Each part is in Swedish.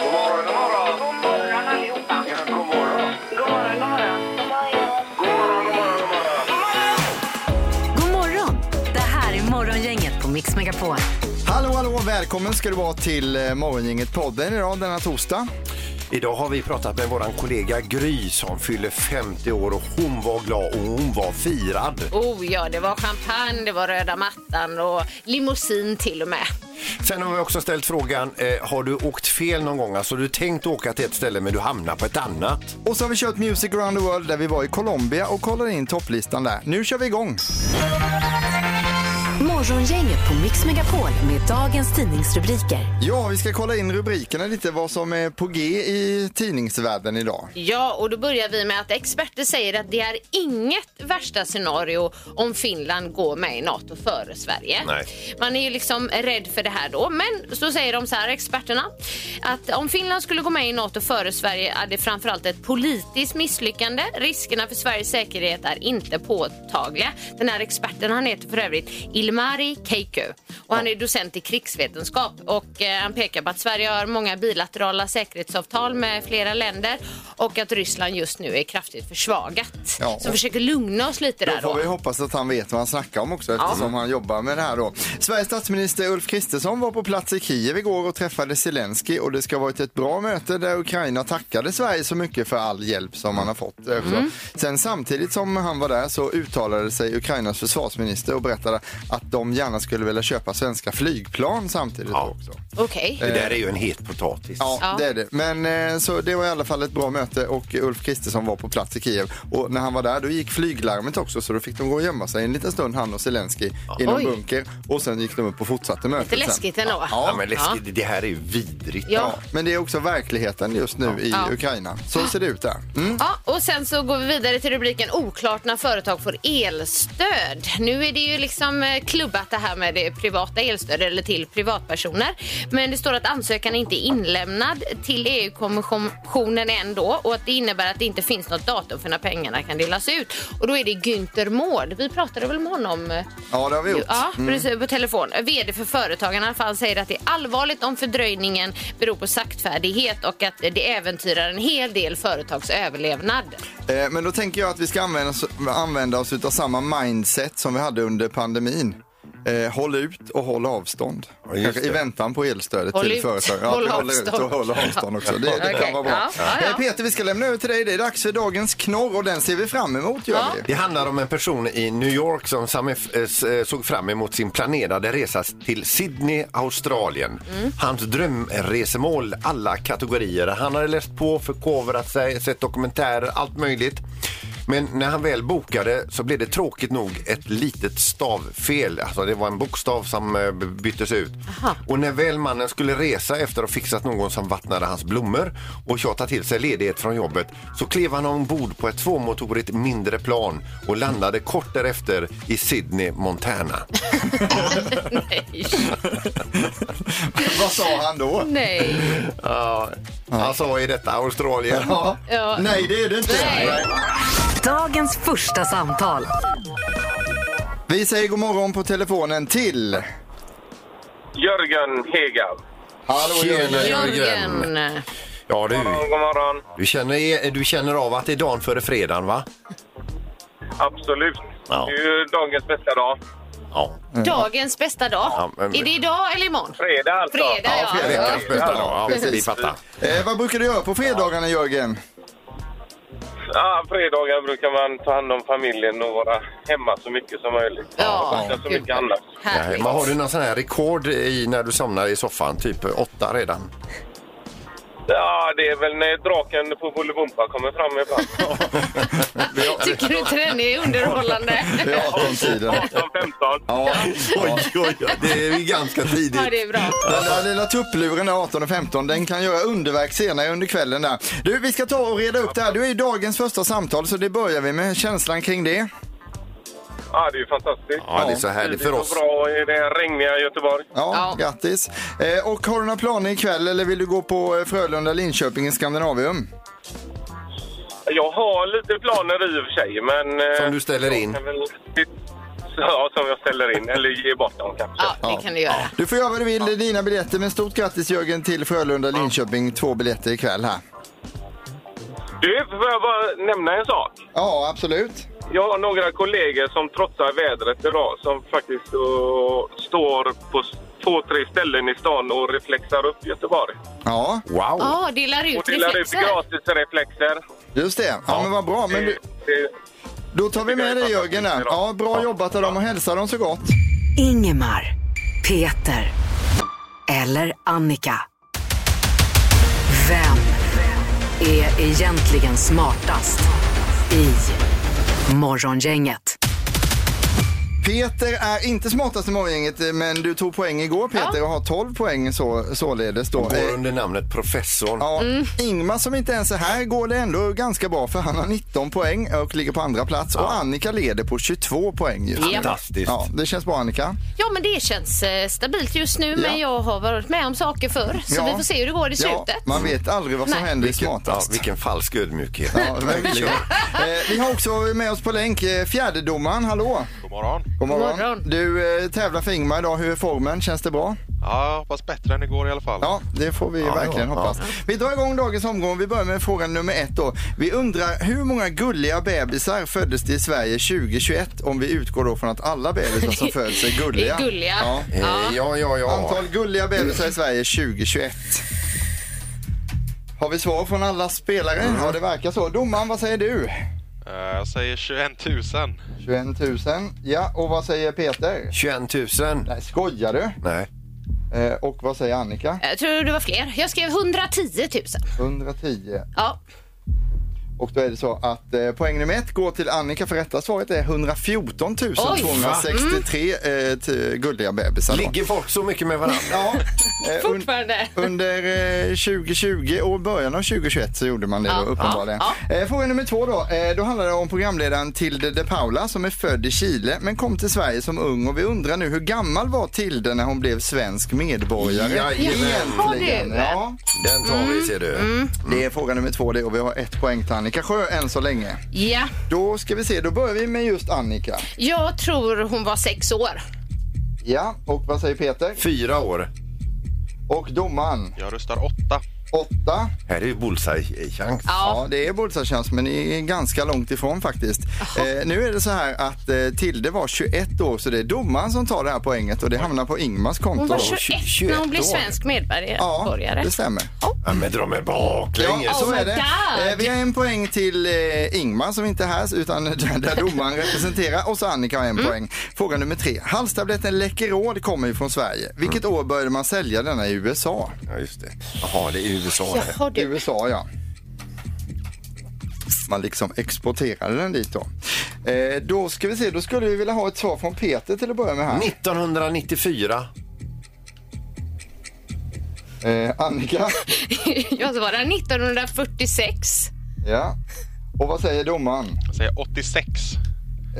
God morgon, god morgon. God morgon allihopa. Ja, god morgon. God morgon, god morgon. God morgon, god morgon, god morgon. God morgon! Det här är Morgongänget på Mix Megapol. Hallå, hallå, välkommen ska du vara till eh, Morgongänget podden idag denna torsdag. Idag har vi pratat med vår kollega Gry som fyller 50 år och hon var glad och hon var firad. Oh ja, det var champagne, det var röda mattan och limousin till och med. Sen har vi också ställt frågan, eh, har du åkt fel någon gång? Alltså du tänkt åka till ett ställe men du hamnar på ett annat. Och så har vi kört Music around the world där vi var i Colombia och kollade in topplistan där. Nu kör vi igång! Morgongänget på Mix Megapol med dagens tidningsrubriker. Ja, vi ska kolla in rubrikerna lite, vad som är på G i tidningsvärlden idag. Ja, och då börjar vi med att experter säger att det är inget värsta scenario om Finland går med i NATO före Sverige. Nej. Man är ju liksom rädd för det här då. Men så säger de så här, experterna, att om Finland skulle gå med i NATO före Sverige är det framförallt ett politiskt misslyckande. Riskerna för Sveriges säkerhet är inte påtagliga. Den här experten, han heter för övrigt Ilmari Keikö och han är docent i krigsvetenskap och eh, han pekar på att Sverige har många bilaterala säkerhetsavtal med flera länder och att Ryssland just nu är kraftigt försvagat. Ja, Så och- försöker lugna oss lite där Då då. får vi hoppas att han vet vad han snackar om också eftersom han jobbar med det här då. Sveriges statsminister Ulf Kristersson var på plats i Kiev igår och träffade Zelensky och det ska ha varit ett bra möte där Ukraina tackade Sverige så mycket för all hjälp som man har fått. Mm. Så- Sen samtidigt som han var där så uttalade sig Ukrainas försvarsminister och berättade att de gärna skulle vilja köpa svenska flygplan samtidigt Ja. också. Eh. Okej. Det där är ju en het potatis. Ja, Ja. det är det. Men eh, så det var i alla fall ett bra möte och Ulf Kristersson var på plats i Kiev. Och när han var där då gick flyglarmet också så då fick de gå och gömma sig en liten stund han och Zelensky i någon Oj. bunker och sen gick de upp och fortsatte mötet. Lite läskigt ändå. Sen. Ja, Ja, men läskigt, det här är ju vidrigt. Ja. ja, men det är också verkligheten just nu i Ja. Ukraina. Så ser det ut där. Mm. Ja, och sen så går vi vidare till rubriken oklart när företag får elstöd. Nu är det ju liksom eh, klubbat det här med det privata elstöd eller till privatpersoner. Men det står att ansökan inte är inlämnad till EU-kommissionen ändå och att det innebär att det inte finns något datum för när pengarna kan delas ut. Och då är det Günther Mård. Vi pratade väl med honom eh, Ja, det har vi gjort. Ja, precis, på telefon. VD för Företagarna för han säger att det är allvarligt om fördröjningen beror på saktfärdighet och att det äventyrar en hel del företags överlevnad. Eh, Men då tänker jag att vi ska använda oss, använda oss av samma mindset som vi hade under pandemin. Eh, håll ut och håll avstånd. Ja, just Kanske I det. väntan på elstödet Håll till ut, företag. håll vi håller ut avstånd. och håll avstånd också. Det, det kan Okej, vara bra. ja, ja, ja. Eh, Peter, vi ska lämna över till dig. Det är dags för dagens knorr och den ser vi fram emot. Gör Ja. vi. Det handlar om en person i New York som sam- eh, s- eh, såg fram emot sin planerade resa till Sydney, Australien. Hans drömresemål, alla kategorier. Han hade läst på, förkovrat sig, sett dokumentärer, allt möjligt. Men när han väl bokade så blev det tråkigt nog ett litet stavfel. Alltså det var en bokstav som eh, b- byttes ut. Och när väl mannen skulle resa efter att ha fixat någon som vattnade hans blommor och tjatat till sig ledighet från jobbet så klev han ombord på ett tvåmotorigt mindre plan och landade kort därefter i Sydney, Montana. Nej. Vad sa han då? Nej. Ja, alltså i detta Australien. Ja. Ja. Nej, det är det inte. Nej. Dagens första samtal. Vi säger god morgon på telefonen till... Jörgen Hegab. Hallå, Tjena, Jörgen. Jörgen. Ja, du, God morgon. du, känner, du känner av att det är dagen före fredagen, va? Absolut. Ja. Det är ju dagens bästa dag. Ja. Mm. Dagens bästa dag. Ja, men- Är det idag eller imorgon? Fredag alltså. Fredag, ja. fredag. ja. Veckans bästa dag. Ja, Precis. vi fattar. Eh, vad brukar du göra på fredagarna, Jörgen? Ja, fredagar brukar man ta hand om familjen och vara hemma så mycket som möjligt. Ja. Och så mycket annat. Nej, Härligt. men har du någon sån här rekord i när du somnar i soffan? Typ åtta redan? Ja, det är väl när draken på Bolibompa kommer fram ibland. Tycker du inte den är underhållande? Det är 18-tiden. 18-15. Ja. Oj, oj, oj. Det är ju ganska tidigt. Ja, det är bra. Den där lilla tuppluren där 18 och 15, den kan göra underverk senare under kvällen där. Du, vi ska ta och reda upp det här. Du är ju dagens första samtal så det börjar vi med. Känslan kring det? Ja, det är ju fantastiskt. Ja, det är så härligt för oss. Det går bra i det regniga Göteborg. Ja, Ja. grattis. Eh, och har du några planer ikväll eller vill du gå på eh, Frölunda, Linköping i Skandinavium? Jag har lite planer i och för sig, men... eh, Som du ställer in. jag kan väl sit- ja, som jag ställer in. Eller ger bort dem kanske. Ja, det kan du göra. Du får göra vad du vill, det är dina biljetter. Men stort grattis Jörgen till Frölunda Linköping. Två biljetter ikväll här. Du, får jag bara nämna en sak? Ja, absolut. Jag har några kollegor som trotsar vädret idag som faktiskt eh, står på s- två, tre ställen i stan och reflexar upp Göteborg. Ja, Wow! Ja, Och delar ut delar ut reflexer. gratis reflexer. just det. Ja, men vad bra. Men du, Eh, Det- då tar vi med dig Jörgen där. Ja, bra jobbat av dem och hälsa dem så gott. Ingemar, Peter eller Annika. Vem är egentligen smartast i Morgongänget? Peter är inte smartast i morgongänget, eh, men du tog poäng igår Peter och har 12 poäng så, således då. Går Eh, under namnet professorn. Ja, Mm. Ingmar som inte ens är här går det ändå ganska bra för han har 19 poäng och ligger på andra plats och Annika leder på 22 poäng just nu. Ja. Fantastiskt. Ja, det känns bra Annika. Ja, men det känns eh, stabilt just nu, Ja. men jag har varit med om saker förr. Så Ja. vi får se hur det går i Ja, slutet. man vet aldrig vad som Nej. händer Vilken, ja, smartast. vilken falsk ödmjukhet. Ja, verkligen. eh, vi har också med oss på länk eh, fjärdedomaren, hallå! God morgon. God morgon. God morgon. Du eh, tävlar för Ingmar idag, hur är formen? Känns det bra? Ja, jag hoppas bättre än igår i alla fall. Ja, det får vi verkligen ja. hoppas. Vi drar igång dagens omgång. Vi börjar med fråga nummer ett då. Vi undrar hur många gulliga bebisar föddes det i Sverige 2021 om vi utgår då från att alla bebisar som föds är gulliga. Är gulliga. Ja. Eh, Ja, ja, ja. Antal gulliga bebisar i Sverige 2021. Har vi svar från alla spelare? Ja, det verkar så. Domaren, vad säger du? Eh, Jag säger 21 000. 21 000. Ja, och vad säger Peter? 21 000. Nej, skojar du? Nej. Eh, och vad säger Annika? Jag Eh, tror det var fler. Jag skrev 110 000. 110. Ja, Och då är det så att eh, poäng nummer ett går till Annika för rätta svaret är 114 263 eh, t- guldiga bebisar. då. Ligger folk så mycket med varandra? Ja, eh, un- fortfarande. under eh, 2020 och början av 2021 så gjorde man det då, Ja, uppenbarligen. ja, Eh, fråga nummer två då. Eh, då handlar det om programledaren Tilde de Paula som är född i Chile men kom till Sverige som ung och vi undrar nu hur gammal var Tilde när hon blev svensk medborgare? Jajamän. Egentligen, Har du? Ja, Den tar vi, ser du. det är fråga nummer två det och vi har ett poäng till Annika Sjö än så länge. Ja, Då ska vi se, då börjar vi med just Annika. jag tror hon var sex år. Ja, och vad säger Peter? Fyra år. Och domaren? Jag röstar 8. Åtta. Här är ju eh, bullseye-chans. Ja. Ja, det är Bålstadstjänst, men ni är ganska långt ifrån faktiskt. Eh, nu är det så här att eh, Tilde var 21 år, så det är domaren som tar det här poänget och det hamnar på Ingmars konto. Hon var då. 21 när hon blev 21 år. svensk medborgare. Ja, det stämmer. Ja, men dra mig baklänges. Ja, så oh my är det. God. Eh, vi har en poäng till eh, Ingmar som inte är här, utan där, där domaren representerar. Och så Annika har en Mm. poäng. Fråga nummer tre. Halstabletten Läkerol kommer ju från Sverige. Vilket Mm. år började man sälja denna i USA? Ja, just det. Jaha, det är USA det. Jaha, du. USA, ja. Man liksom exporterade den dit då. Eh, då ska vi se, då skulle vi vilja ha ett svar från Peter till att börja med här. 1994. Eh, Annika, Jag svarar 1946. ja. Och vad säger domaren? Jag säger 86.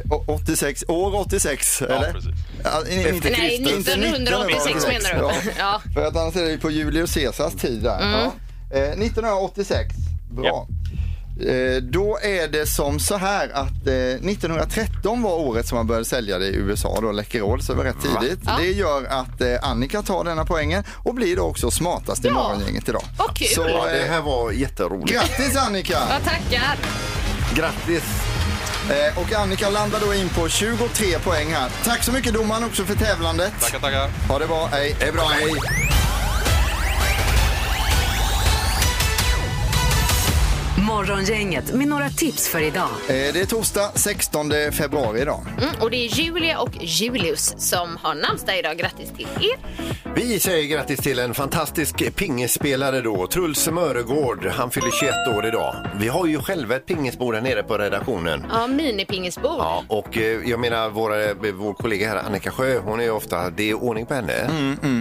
Eh, å- 86, år 86, eller? Ja, precis. Ja, in- in- inte Nej, Kristus, inte 1986 menar du. Ja. Ja. Mm. För att annars är det ju på Julius Caesars tid där. Ja. Eh, 1986, bra. Eh, då är det som så här att eh, 1913 var året som man började sälja det i USA, då Läkerol, så det var rätt tidigt. Ja. Det gör att eh, Annika tar denna poängen och blir då också smartast i Ja. morgongänget idag. Vad kul. Så, Ja, det eh, här var jätteroligt. grattis Annika! Jag tackar. Grattis! Eh, och Annika landar då in på 23 poäng här. Tack så mycket domaren också för tävlandet. Tackar, tackar. Ha det bra, hej! Eh, Det är bra, hej! Morgongänget med några tips för idag. Eh, Det är torsdag 16 februari idag. Mm, och det är Julia och Julius som har namnsdag idag. Grattis till er. Vi säger grattis till en fantastisk pingespelare då, Truls Mörgård. Han fyller 21 år idag. Vi har ju själva ett pingisbord här nere på redaktionen. Ja, minipingisbord. Ja, och eh, jag menar våra, vår kollega här, Annika Sjö, hon är ju ofta, det är ordning på henne,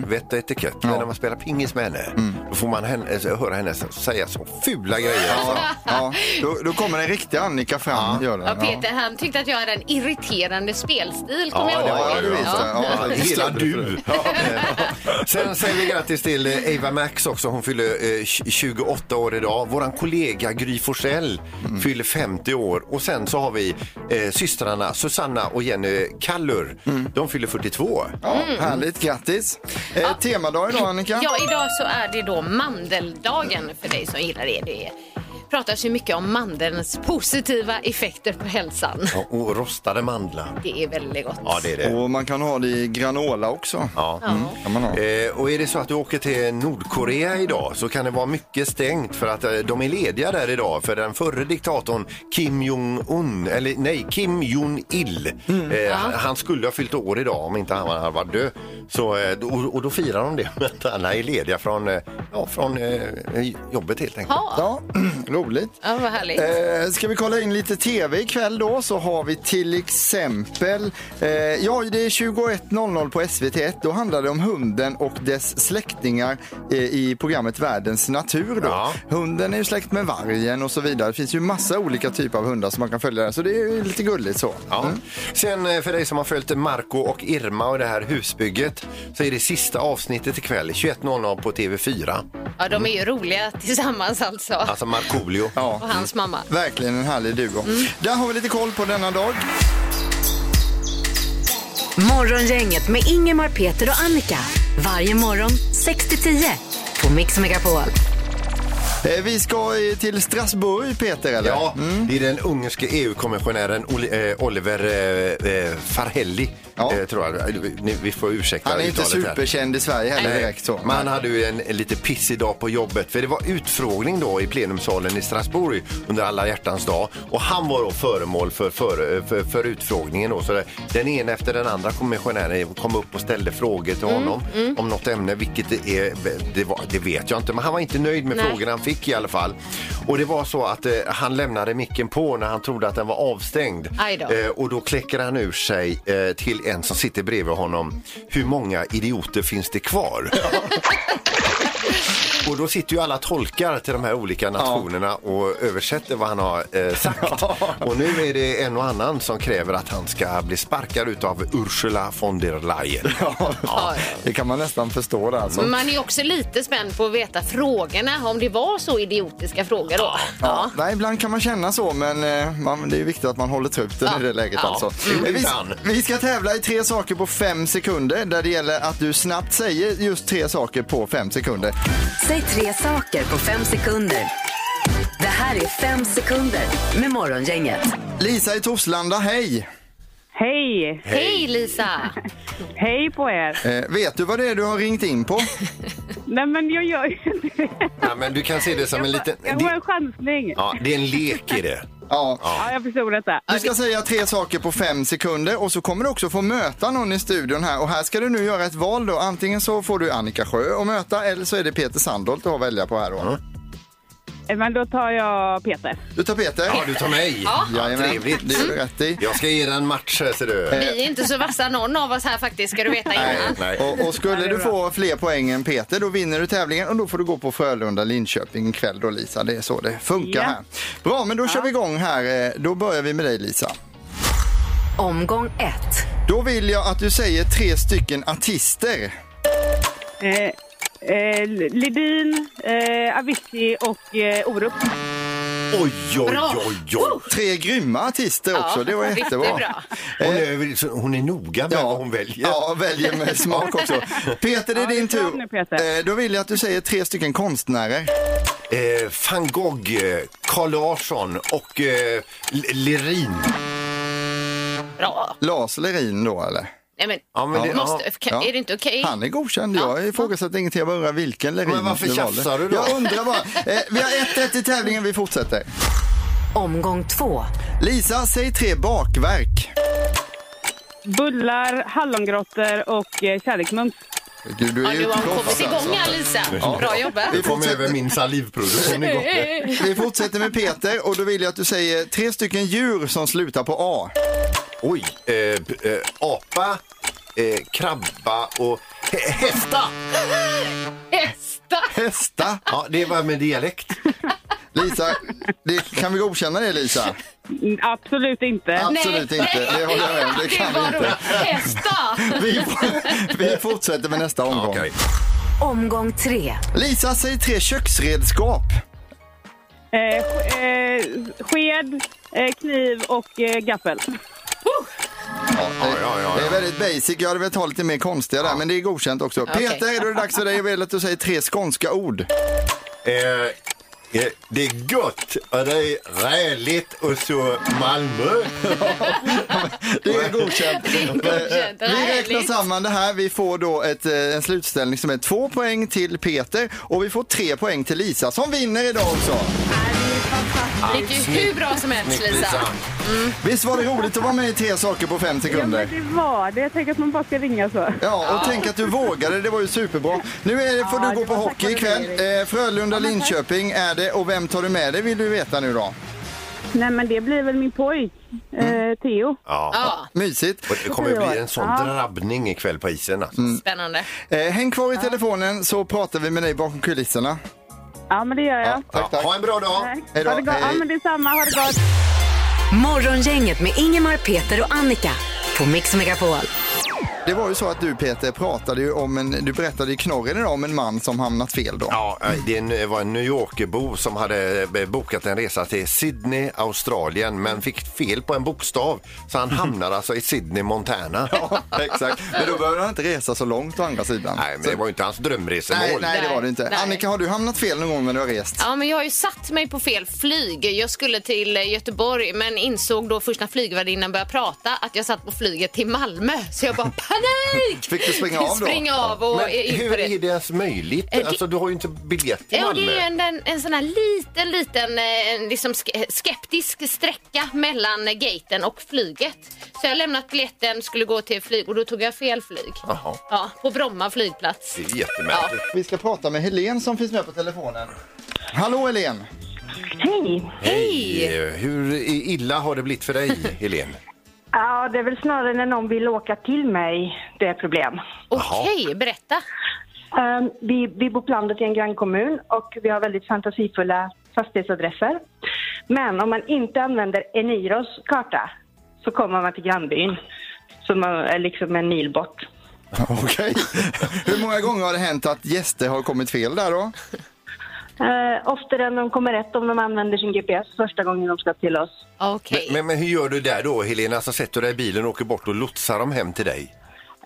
vett och etikett. Men när man spelar pingis med henne, då får man henne, alltså, höra henne säga så fula grejer. alltså. Ja, då, då kommer den riktiga Annika fram. Gör den, Ja, Peter han tyckte att jag hade en irriterande spelstil, kommer Ja, jag det ihåg. var Ja, det det ju. visste jag. Ja, det Hela stämde för du. Sen säger vi grattis till eh, Ava Max också. Hon fyller eh, 28 år idag. Våran kollega Gry Forssell Mm. fyller 50 år. Och sen så har vi eh, systrarna Susanna och Jenny Kallur. Mm. De fyller 42. Ja, Mm. Härligt, grattis. Eh, Temadag idag Annika. Ja, idag så är det då mandeldagen för dig som gillar det. Det pratas ju mycket om mandelns positiva effekter på hälsan. Ja, Och rostade mandlar. Det är väldigt gott. Ja, det är det. Och man kan ha det i granola också. Ja. Kan man ha. Eh, och är det så att du åker till Nordkorea idag så kan det vara mycket stängt för att eh, de är lediga där idag för den förre diktatorn Kim Jong-Un, eller nej, Kim Jong-Il. Eh, han- Han skulle ha fyllt år idag om inte han hade varit död. Så, eh, och, och då firar de det med att alla är lediga från, eh, ja, från eh, jobbet helt enkelt. Ja, Ja, roligt. ja vad härligt. Eh, ska vi kolla in lite tv ikväll då så har vi till exempel, eh, ja det är 21.00 på SVT1, då handlar det om hunden och dess släktingar eh, i programmet Världens natur då. Ja. Hunden är ju släkt med vargen och så vidare, det finns ju massa olika typer av hundar som man kan följa där så det är ju lite gulligt så. Ja. Sen eh, för dig som har följt Marco och Irma och det här husbygget så är det sista avsnittet ikväll 21.00 på TV4. Ja, de är ju roliga tillsammans alltså. Alltså Markoolio. Ja. Och hans mamma. Mm. Verkligen en härlig duo. Där har vi lite koll på denna dag. Morgongänget med Ingemar, Peter och Annika. Varje morgon 6 till 10 på Mix Megapol. Eh, vi ska eh, till Strasbourg Peter eller? Mm. Ja, det är den ungerske EU-kommissionären Oli- eh, Oliver eh, eh, Farhelli. Ja. eh, Tror jag. Eh, ni- Vi får ursäkta Han är inte uttalet här. superkänd i Sverige heller Nej, direkt så. Men han hade ju en lite pissig dag på jobbet för det var utfrågning då i plenumsalen i Strasbourg under alla hjärtans dag och han var då föremål för, för, för, för utfrågningen då. Så det, den ena efter den andra kommissionären kom upp och ställde frågor Mm, till honom om något ämne, vilket det är, det, var, det vet jag inte, men han var inte nöjd med Nej. frågorna han fick i alla fall. Och det var så att eh, han lämnade micken på när han trodde att den var avstängd. Aj då. Eh, och då kläcker han ur sig eh, till en som sitter bredvid honom. Hur många idioter finns det kvar? och då sitter ju alla tolkar till de här olika nationerna och översätter vad han har eh, sagt. och nu är det en och annan som kräver att han ska bli sparkad utav Ursula von der Leyen. Ja, det kan man nästan förstå där alltså. Men Mm. Man är ju också lite spänd på att veta frågorna, om det var så idiotiska frågor då. Ja. Nej, ibland kan man känna så, men eh, man, det är viktigt att man håller truten i det läget. Ja. Alltså. Mm. Eh, Vi, Ibland. vi ska tävla i tre saker på fem sekunder där det gäller att du snabbt säger just tre saker på fem sekunder. Säg tre saker på fem sekunder. Det här är fem sekunder med Morgongänget. Lisa i Torslanda, hej! Hej! Hej Lisa! Hej på er! Eh, vet du vad det är du har ringt in på? Nej, men jag gör ju inte det. Ja, men du kan se det som en liten... Jag var en chansning. Ja. Ja, det är en lek i det. Ja. jag förstod detta. Du ska säga tre saker på fem sekunder och så kommer du också få möta någon i studion här och här ska du nu göra ett val då. Antingen så får du Annika Sjö att möta eller så är det Peter Sandholt du har att välja på här då. Men då tar jag Peter. Du tar Peter. Ja, du tar mig. Ja. Jajamän, trevligt. Mm. Det är du rätt i. Jag ska ge dig en match här ser du. Vi är inte så vassa någon av oss här faktiskt, ska du veta innan. Nej. Och, och skulle du få fler poäng än Peter, då vinner du tävlingen och då får du gå på Frölunda-Linköping ikväll då Lisa. Det är så det funkar Ja. här. Bra, men då kör vi igång här. Eh, Då börjar vi med dig Lisa. Omgång 1. Då vill jag att du säger tre stycken artister. Eh, eh, Ledin, eh, Avicii och eh, Orup. Oj, oj, Bra. oj, oj. Tre grymma artister också, det var riktigt jättebra. bra. Hon är, så hon är noga med vad hon väljer. Eh. Ja, väljer med smak också. Peter, det är Ja, det är din bra tur. nu, Peter. Eh, Då vill jag att du säger tre stycken konstnärer. Eh, van Gogh, eh, Carl Larsson och eh, L- Lerin. Bra! Lars Lerin då, eller? Nej, men, Ja, men det- måste, kan, Ja. är det inte okej? Han är godkänd. Jag ifrågasätter ingenting. Jag bara undrar vilken Lerin Men varför du tjafsar valde. du då? Jag undrar bara. Eh, vi har 1-1 i tävlingen. Vi fortsätter. Omgång 2. Lisa, säg tre bakverk. Bullar, hallongrottor och eh, kärleksmums. Gud, du Ja, är nu har hon utblåst, kommit igång här Lisa. alltså. Bra jobbat. Du kom över min salivproduktion igår. Vi fortsätter med Peter och då vill jag att du säger tre stycken djur som slutar på A. Oj, eh, p- eh, apa, eh, krabba och hä- hästa. Hästa! Hästa. Ja, det var med dialekt. Lisa, det, kan vi godkänna det Lisa? Mm, Absolut inte. Absolut Nej. inte, det håller jag med om. Det kan var vi inte. roligt. Hästa! Vi, får- vi fortsätter med nästa omgång. Okej. Omgång tre. Lisa, säg tre köksredskap. Eh, sk- eh, sked, eh, kniv och eh, gaffel. Ja, det, ja, ja, ja. det är väldigt basic. Jag hade velat ha lite mer konstiga där, men det är godkänt också. Peter, då är det dags för dig. Jag vill att du säger tre skånska ord. Eh, eh, det är gott och det är räligt och så Malmö. Det är godkänt. godkänt. Eh, Vi räknar Härligt. samman det här. Vi får då ett, eh, en slutställning som är två poäng till Peter och vi får tre poäng till Lisa som vinner idag också. Det gick ju hur bra som helst, Snyggt, Lisa. Visst var det roligt att vara med i Tre saker på fem Ja, men sekunder? det var det. Jag tänker att man bara ska ringa så. Ja, och tänk att du vågade. Det var ju superbra. Nu är det, får Ja, du gå det på var tack hockey vare ikväll. dig, Eh, Frölunda-Linköping är det och vem tar du med dig vill du veta nu då? Nej, men det blir väl min pojk, eh, Theo. Ja. Ja, Mysigt. Och det kommer att bli en sån Ja. drabbning ikväll på isen. Alltså. spännande. Eh, häng kvar i telefonen så pratar vi med dig bakom kulisserna. Ja, men det gör jag. Tack, Ja, tack. ha en bra dag! Tack. Hej då, Ha det gott. Ja, hej. men detsamma. Ha det gott. Morgongänget med Ingemar, Peter och Annika på Mix Megapol. Det var ju så att du Peter pratade ju om en, du berättade i knorren idag om en man som hamnat fel då. Ja, det är en- var en New Yorker-bo som hade eh, bokat en resa till Sydney, Australien, men fick fel på en bokstav. Så han hamnar alltså i Sydney, Montana. Ja, exakt. Men då behöver han inte resa så långt å andra sidan. Nej, men det var ju inte hans drömresemål. nej, nej, det var det inte. Nej. Annika, har du hamnat fel någon gång när du har rest? Ja, men jag har ju satt mig på fel flyg. Jag skulle till eh, Göteborg men insåg då först när flygvärdinnan började prata att jag satt på flyget till Malmö. Så jag bara panik! Fick du springa av då? Springa av och Men in på hur det. är det ens möjligt? Eh, det- Alltså, du har ju inte biljett till Jo, det Malmö. är ju en, en, en sån här liten, liten eh, en liksom ske- skeptisk sträcka mellan eh, gaten och flyget. Så jag lämnat biljetten, skulle gå till flyg och då tog jag fel flyg. Jaha. Ja, på Bromma flygplats. Det är jättemärkligt. Vi ska prata med Helen som finns med på telefonen. Hallå Helen! Hej! Hej! Hur illa har det blivit för dig, Helene? Ja, det är väl snarare när någon vill åka till mig det är problem. Okej, berätta. Ehm, vi, vi bor på landet i en grannkommun och vi har väldigt fantasifulla fastighetsadresser. Men om man inte använder Eniros karta så kommer man till grannbyn som är liksom en mil bort. Okej. Hur många gånger har det hänt att gäster har kommit fel där då? Uh, oftare än de kommer rätt om de använder sin GPS första gången de ska till oss. Okej. Men, men, men hur gör du där då, Helena? Alltså, sätter du dig i bilen och åker bort och lotsar dem hem till dig?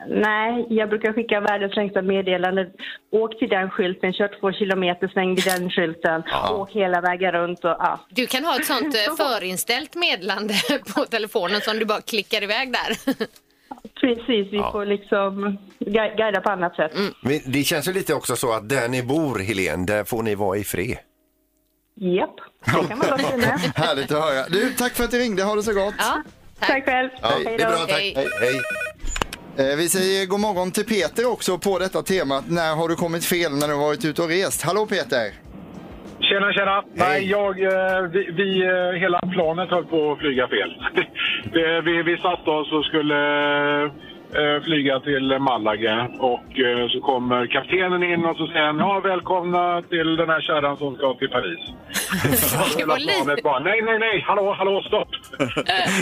Nej, jag brukar skicka världens längsta meddelande. Åk till den skylten, kör två kilometer, sväng vid den skylten, åk hela vägen runt och ja. Du kan ha ett sånt eh, förinställt meddelande på telefonen som du bara klickar iväg där. Precis, vi får liksom gui- guida på annat sätt. Men det känns ju lite också så att där ni bor, Helene, där får ni vara i fred. Japp, det kan man gott kunna. Härligt att höra. Du, tack för att du ringde. Ha det så gott. Ja, Tack själv. Ja, Hej det är då. bra, tack. Hej. Hej. Hej. Eh, Vi säger god morgon till Peter också på detta temat. När har du kommit fel när du har varit ute och rest? Hallå Peter! Tjena, tjena! Nej, jag, eh, vi, vi, eh, hela planet höll på att flyga fel. Det- vi, vi satte oss och skulle eh, flyga till Malaga och eh, så kommer kaptenen in och så säger han ja, välkomna till den här kärran som ska till Paris. det Hela var lite... planet bara nej, nej, nej, hallå, hallå, stopp!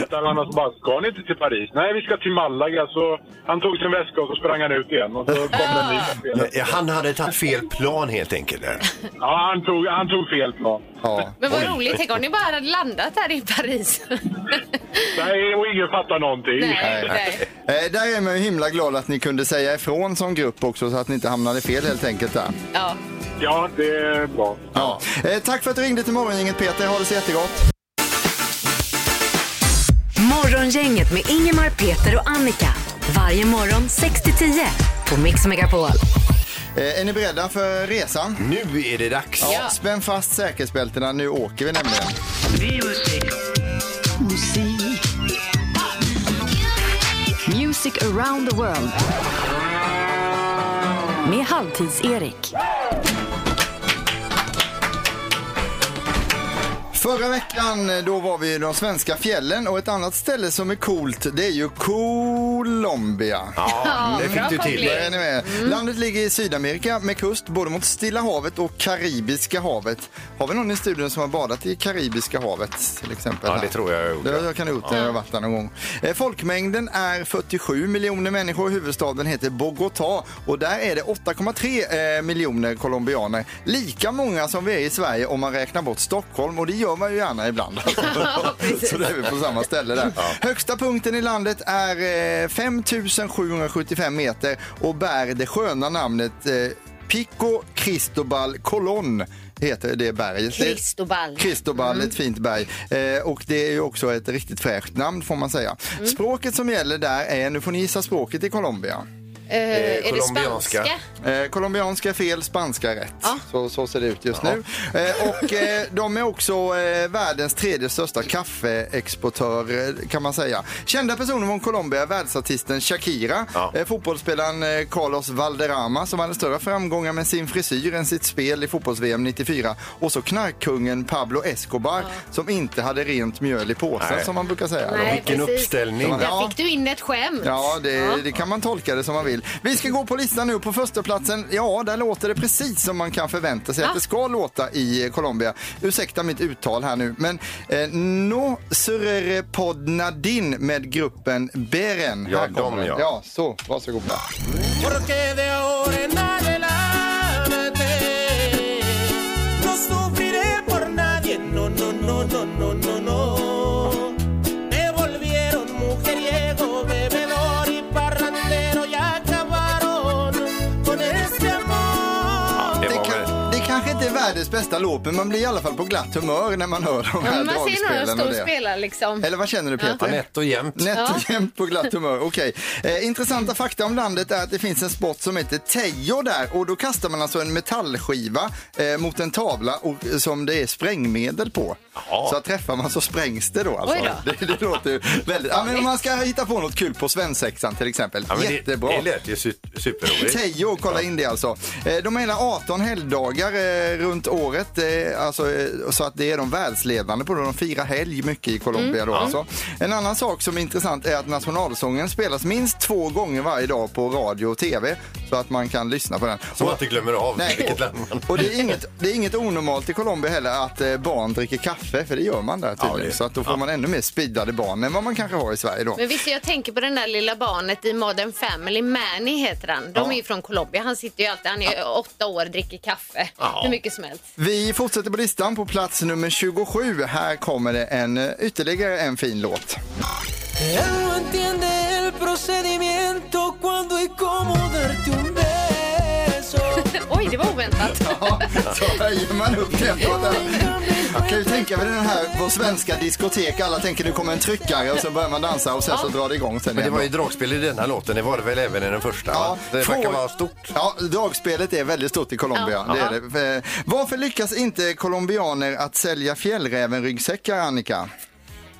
Där han alltså bara, ska ni inte till Paris? Nej, vi ska till Malaga. Så han tog sin väska och så sprang han ut igen och så kom den nya kaptenen. Eh, Han hade tagit fel plan helt enkelt. där. Ja, han tog, han tog fel plan. Ja. Men vad roligt, tänk om ni bara hade landat här i Paris. Nej, och ingen fattar någonting. nej, nej. Eh, Där är man ju himla glad att ni kunde säga ifrån som grupp också så att ni inte hamnade fel helt enkelt där. Ja. Ja, det är bra. Ja. Eh, Tack för att du ringde till morgongänget Peter. Ha det så jättegott. Morgongänget med Ingemar, Peter och Annika. Varje morgon 6 till 10 på Mix Megapol. Eh, Är ni beredda för resan? Nu är det dags. Ja. Spänn fast säkerhetsbältena, nu åker vi nämligen. Music around the world. Med Halvtids-Erik. Förra veckan eh, då var vi i de svenska fjällen och ett annat ställe som är coolt det är ju Ko... Colombia. Ja, det Mm. fick du till. Då är ni med. Landet ligger i Sydamerika med kust både mot Stilla havet och Karibiska havet. Har vi någon i studion som har badat i Karibiska havet till exempel? Ja, det tror jag jag gjorde. Det, jag kan ha gjort det, Ja. jag har varit där någon gång. Eh, Folkmängden är 47 miljoner människor. Huvudstaden heter Bogotá och där är det 8,3 eh, miljoner colombianer. Lika många som vi är i Sverige om man räknar bort Stockholm och det gör man ju gärna ibland. Så då är vi på samma ställe där. Högsta punkten i landet är eh, 5775 meter och bär det sköna namnet eh, Pico Cristobal Colón heter det berget. Det- Kristobal. Cristobal, ett fint berg. Eh, och det är ju också ett riktigt fräscht namn får man säga. Språket som gäller där är, nu får ni gissa språket i Colombia. Eh, är det spanska? Eh, colombianska fel, spanska rätt. Så, så ser det ut just nu. Eh, och eh, de är också eh, världens tredje största kaffeexportör eh, kan man säga. Kända personer från Colombia är världsartisten Shakira, eh, fotbollsspelaren eh, Carlos Valderrama som hade större framgångar med sin frisyr än sitt spel i fotbolls-VM 94 och så knarkkungen Pablo Escobar som inte hade rent mjöl i påsen Nej. som man brukar säga. Nej, precis. Där Ja. fick du in ett skämt. Ja, det, det kan man tolka det som man vill. Vi ska gå på listan nu. På första platsen, ja, där låter det precis som man kan förvänta sig Ja. att det ska låta i Colombia. Ursäkta mitt uttal här nu, men eh, No Surrepodnadin med gruppen Beren. Ja, Här kommer de, den. ja. Ja, så. Varsågoda. Porque de ahora en adelante no sufriré por nadie. No, no, no, no, no, no, no. Me volvieron mujeriego, bebedor y parrandero y acabaron con este amor. Det, kan, det kanske inte är världens bästa låt, men man blir i alla fall på glatt humör när man hör de Ja, här men man ser några dragspelen och stor det. spelare liksom. Eller vad känner du Peter? Ja, nätt och jämnt. Nätt Ja. och jämnt på glatt humör. Okej. Eh, intressanta fakta om landet är att det finns en sport som heter Tejo där och då kastar man alltså en metallskiva eh, mot en tavla och, eh, som det är sprängmedel på. Så att träffar man så sprängs det då alltså. Oj då. Det, det låter ju väldigt... Ja, men om man ska hitta på något kul på svensexan till exempel. Ja, men det- Jättebra. Det lät ju su- superroligt. Tejo, kolla in det alltså. Eh, De har hela 18 helgdagar eh, runt året, eh, alltså, eh, så att det är de världsledande på det. De firar helg mycket i Colombia Mm. då Ja. alltså. En annan sak som är intressant är att nationalsången spelas minst två gånger varje dag på radio och tv så att man kan lyssna på den. Så man inte glömmer av Nej. vilket land man... Och det är, inget, det är inget onormalt i Colombia heller att eh, barn dricker kaffe, för det gör man där tydligen. Så att då får man ännu mer speedade barn än vad man kanske har i Sverige då. Men visst, jag tänker på den där lilla barnet i Modern Family. Manny heter han. De Ja. är ju från Colombia. Han sitter ju alltid, han är åtta år, dricker kaffe. Ja. Hur mycket som helst. Vi fortsätter på listan på plats nummer 27. Här kommer det en, eh, ytterligare en fin låt. Él no entiende el procedimiento cuando y cómo darte un beso. Oj, det var oväntat. Så höjer man upp tempot. där. Jag kan ju tänka mig den här på svenska diskotek. Alla tänker nu kommer en tryckare och så börjar man dansa och sen så drar det igång. Sen Men det igen var då. ju dragspel i den här låten, det var det väl även i den första? va? det verkar Fråga- vara stort. Ja, dragspelet är väldigt stort i Colombia. Ja. Det är det. Eh, Varför lyckas inte colombianer att sälja fjällräven-ryggsäckar, Annika?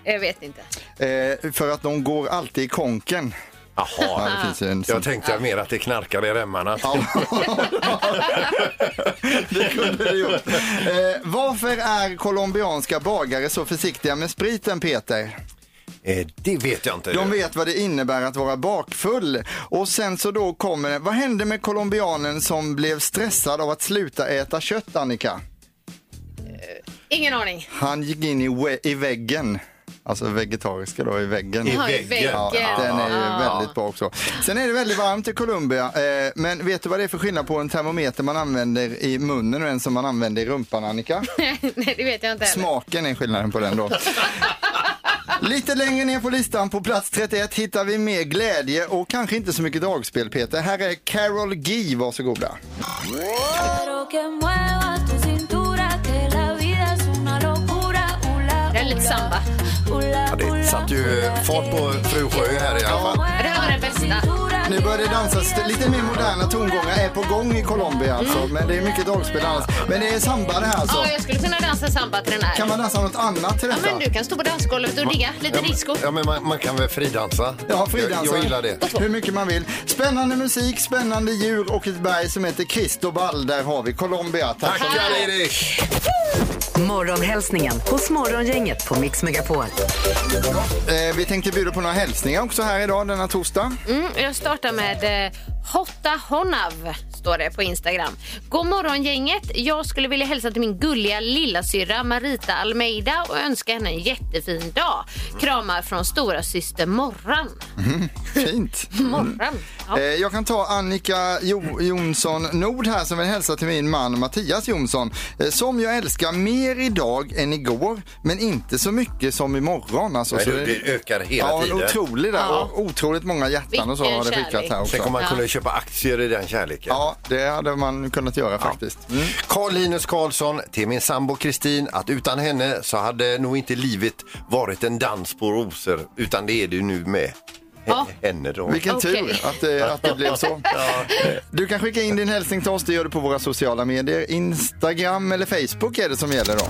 Jag vet inte. Eh, för att de går alltid i konken. Jaha, Ja, det finns ju en sån- jag tänkte mer att det knarkar i remmarna. Det kunde det gjort. Eh, varför är colombianska bagare så försiktiga med spriten, Peter? Eh, det vet jag inte. De vet vad det innebär att vara bakfull. Och sen så då kommer det. Vad hände med colombianen som blev stressad av att sluta äta kött, Annika? Ingen aning. Han gick in i, we- i väggen. Alltså vegetariska då, i väggen. I Ja, i väggen. Ja, väggen. den är ju Ja. väldigt bra också. Sen är det väldigt varmt i Colombia. Eh, men vet du vad det är för skillnad på en termometer man använder i munnen och en som man använder i rumpan, Annika? Nej, det vet jag inte heller. Smaken är skillnaden på den då. Lite längre ner på listan, på plats 31, hittar vi mer glädje och kanske inte så mycket dragspel, Peter. Här är Carol G, varsågoda. Det är lite samba. Ja, det satt ju eh, fart på Fru Sjö här i alla fall. Det här var den bästa. Nu börjar det dansas. Det- Lite mer moderna tongångar är på gång i Colombia alltså. Men det är mycket dragspel annars. Men det är samba det här alltså. Mm. Ja, jag skulle kunna dansa samba till den här. Kan man dansa något annat till Ja, detta? men du kan stå på dansgolvet och digga lite ja, men- disco. Ja, men man, man kan väl fridansa? Ja, fridansa. Jag, jag gillar det. Hur mycket man vill. Spännande musik, spännande djur och ett berg som heter Cristobal. Där har vi Colombia. Tack. Tackar Erik! Morgonhälsningen hos Morgongänget på Mix Megapol. Eh, vi tänkte bjuda på några hälsningar också här idag denna torsdag. Mm, jag startar med eh, Hotta Honav, står det på Instagram. God morgon gänget. Jag skulle vilja hälsa till min gulliga lillasyrra Marita Almeida och önska henne en jättefin dag. Kramar från stora syster Morran. Mm, fint. Morran. Ja. Eh, Jag kan ta Annika jo Jonsson Nord här som vill hälsa till min man Mattias Jonsson. eh, Som jag älskar mer idag än igår, men inte så mycket som imorgon. Alltså, Nej, så det- det ökar hela ja, tiden. Ja, otroligt där. Ja. Och Otroligt många hjärtan och så Vilken har det skickat kärlek. här också. Tänk om man Ja. kunde köpa aktier i den kärleken. Ja, det hade man kunnat göra faktiskt. Mm. Carl Linus Karlsson till min sambo Kristin att utan henne så hade nog inte livet varit en dans på rosor utan det är det ju nu med Ja. henne då. Vilken Okej. tur att, det- att det blev så. Du kan skicka in din hälsning till oss. Det gör du på våra sociala medier. Instagram eller Facebook är det som gäller då.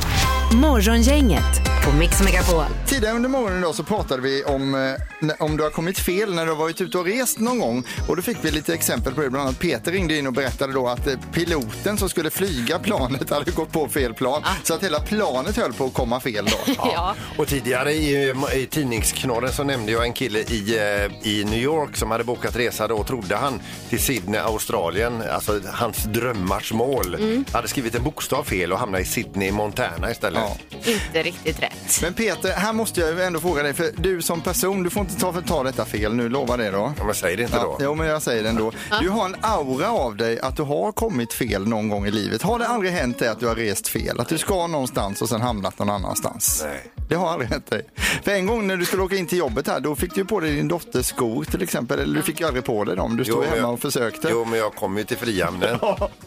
Morgongänget på Mix Megapol. Tidigare under morgonen idag så pratade vi om eh, n- om du har kommit fel när du har varit ute och rest någon gång. Och då fick vi lite exempel på det. Bland annat Peter ringde in och berättade då att eh, piloten som skulle flyga planet hade gått på fel plan. Så att hela planet höll på att komma fel då. Ja. Och tidigare i, i tidningsknorren så nämnde jag en kille i, eh, i New York som hade bokat resa då, trodde han, till Sydney, Australien. Alltså hans drömmars mål. Mm. Hade skrivit en bokstav fel och hamnade i Sydney, Montana istället. Inte riktigt rätt. Men Peter, här måste jag ju ändå fråga dig, för du som person, du får inte ta, ta detta fel nu, lova det då. Ja, men säg det inte Ja, då. jo, men jag säger det ändå. Du har en aura av dig att du har kommit fel någon gång i livet. Har det aldrig hänt dig att du har rest fel? Att du ska någonstans och sen hamnat någon annanstans? Nej. Det har aldrig hänt dig. För en gång när du skulle åka in till jobbet här, då fick du ju på dig din dotters skor till exempel. Eller du fick ju aldrig på dig dem. Du Jo, stod ju men hemma jag- och försökte. Jo, men jag kom ju till Frihamnen,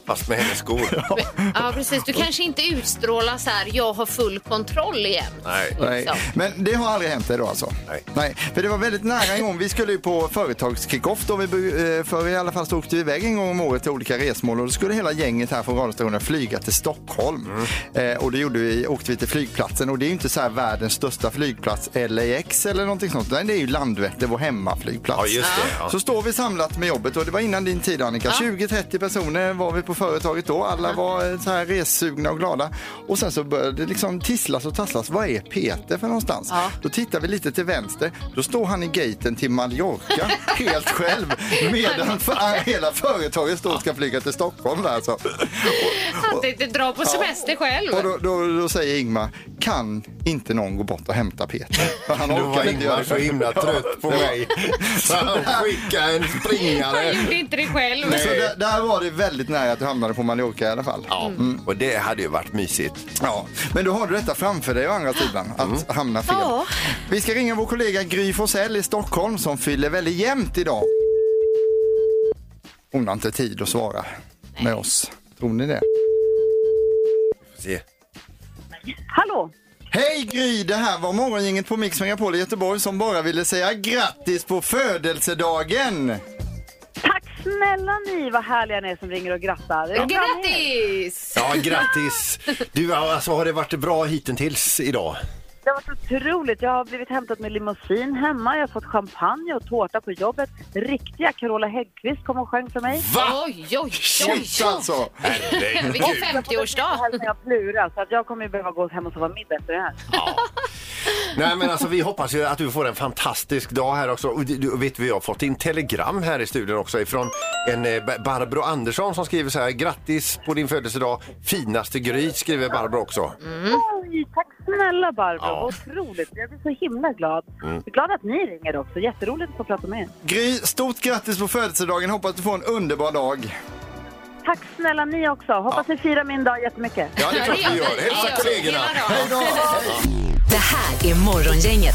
fast med hennes skor. Ja, precis. Du kanske inte utstrålar så här, jag har full kontroll igen. Liksom. Nej. Nej. Så. Men det har aldrig hänt dig då alltså? Nej. För det var väldigt nära en gång. Vi skulle ju på företagskickoff då. Vi, bu- eh, för i alla fall så åkte vi iväg en gång om året till olika resmål och då skulle hela gänget här från radiostationen flyga till Stockholm. Eh, och då gjorde vi, åkte vi till flygplatsen och det är ju inte så här världens största flygplats, LAX eller någonting sånt. Nej, det är ju Landvetter, vår hemmaflygplats. Ja, just det. Ja. Så står vi samlat med jobbet och det var innan din tid Annika. 20-30 personer var vi på företaget då. Alla var eh, så här ressugna och glada. Och sen så började det liksom tisslas och tasslas. Vad är Peter för någonstans? Ja. Då tittar vi lite till vänster. Då står han i gaten till Mallorca helt själv. Medan för, äh, hela företaget står och ska flyga till Stockholm. Där, alltså. Han tänkte dra på semester själv. Och då, då, då säger Ingmar, kan inte någon gå bort och hämta Peter? För han Nu var orkade inte göra det Ingmar så själv. himla trött på mig så han skickade en Han springare. gjorde inte det själv. Så där, där var det väldigt nära att du hamnade på Mallorca i alla fall. Ja, och det hade ju varit mysigt. Ja, men då har du detta framför dig å andra sidan, att hamna fel. Ja. Vi ska ringa vår kollega Gry Forssell i Stockholm som fyller väldigt jämnt idag. Hon har inte tid att svara med oss. Tror ni det? Får se. Hallå! Hej Gry! Det här var morgongänget på Mix Megapol i Göteborg som bara ville säga grattis på födelsedagen! Tack snälla ni, vad härliga ni är som ringer och grattar. Grattis! Ja, grattis! Du, alltså har det varit bra hittills idag? Det har varit otroligt. Jag har blivit hämtad med limousin hemma. Jag har fått champagne och tårta på jobbet. Riktiga Carola Häggkvist kom och sjöng för mig. Oj, oj, oj. Shit alltså! Vilken Herregud! Jag 50-årsdag. har hälsningar av Plura, så att jag kommer ju behöva gå hem och sova middag efter det här. Nej, men alltså, vi hoppas ju att du får en fantastisk dag här också. Och du- du, vet, vi har fått in telegram här i studion också ifrån en eh, Ba- Barbro Andersson som skriver så här. Grattis på din födelsedag, finaste Gry, skriver Barbro också. Oj, tack snälla Barbro. Ja. Vad Otroligt. Jag blir så himla glad. Mm. Jag är glad att ni ringer också. Jätteroligt att få prata med er. Gry, stort grattis på födelsedagen. Hoppas du får en underbar dag. Tack snälla ni också. Hoppas ni firar min dag jättemycket. Ja, det är klart vi gör. Hälsa kollegorna! Hela dagen. Det här är Morgongänget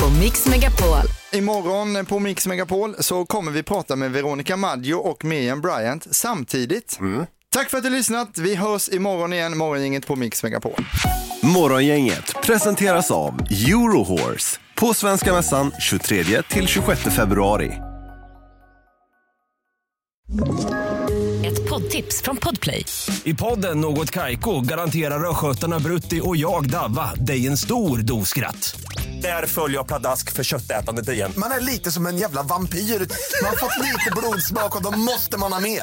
på Mix Megapol. Imorgon på Mix Megapol så kommer vi prata med Veronica Maggio och Miriam Bryant samtidigt. Tack för att du har lyssnat. Vi hörs imorgon igen, morgongänget på Mix Megapol. Morgongänget presenteras av Eurohorse på Svenska Mässan 23-26 februari. Ett poddtips från Podplay. I podden Något Kaiko garanterar östgötarna Brutti och jag, Davva, dig en stor dos skratt. Där följer jag pladask för köttätandet igen. Man är lite som en jävla vampyr. Man har fått lite blodsmak och då måste man ha mer.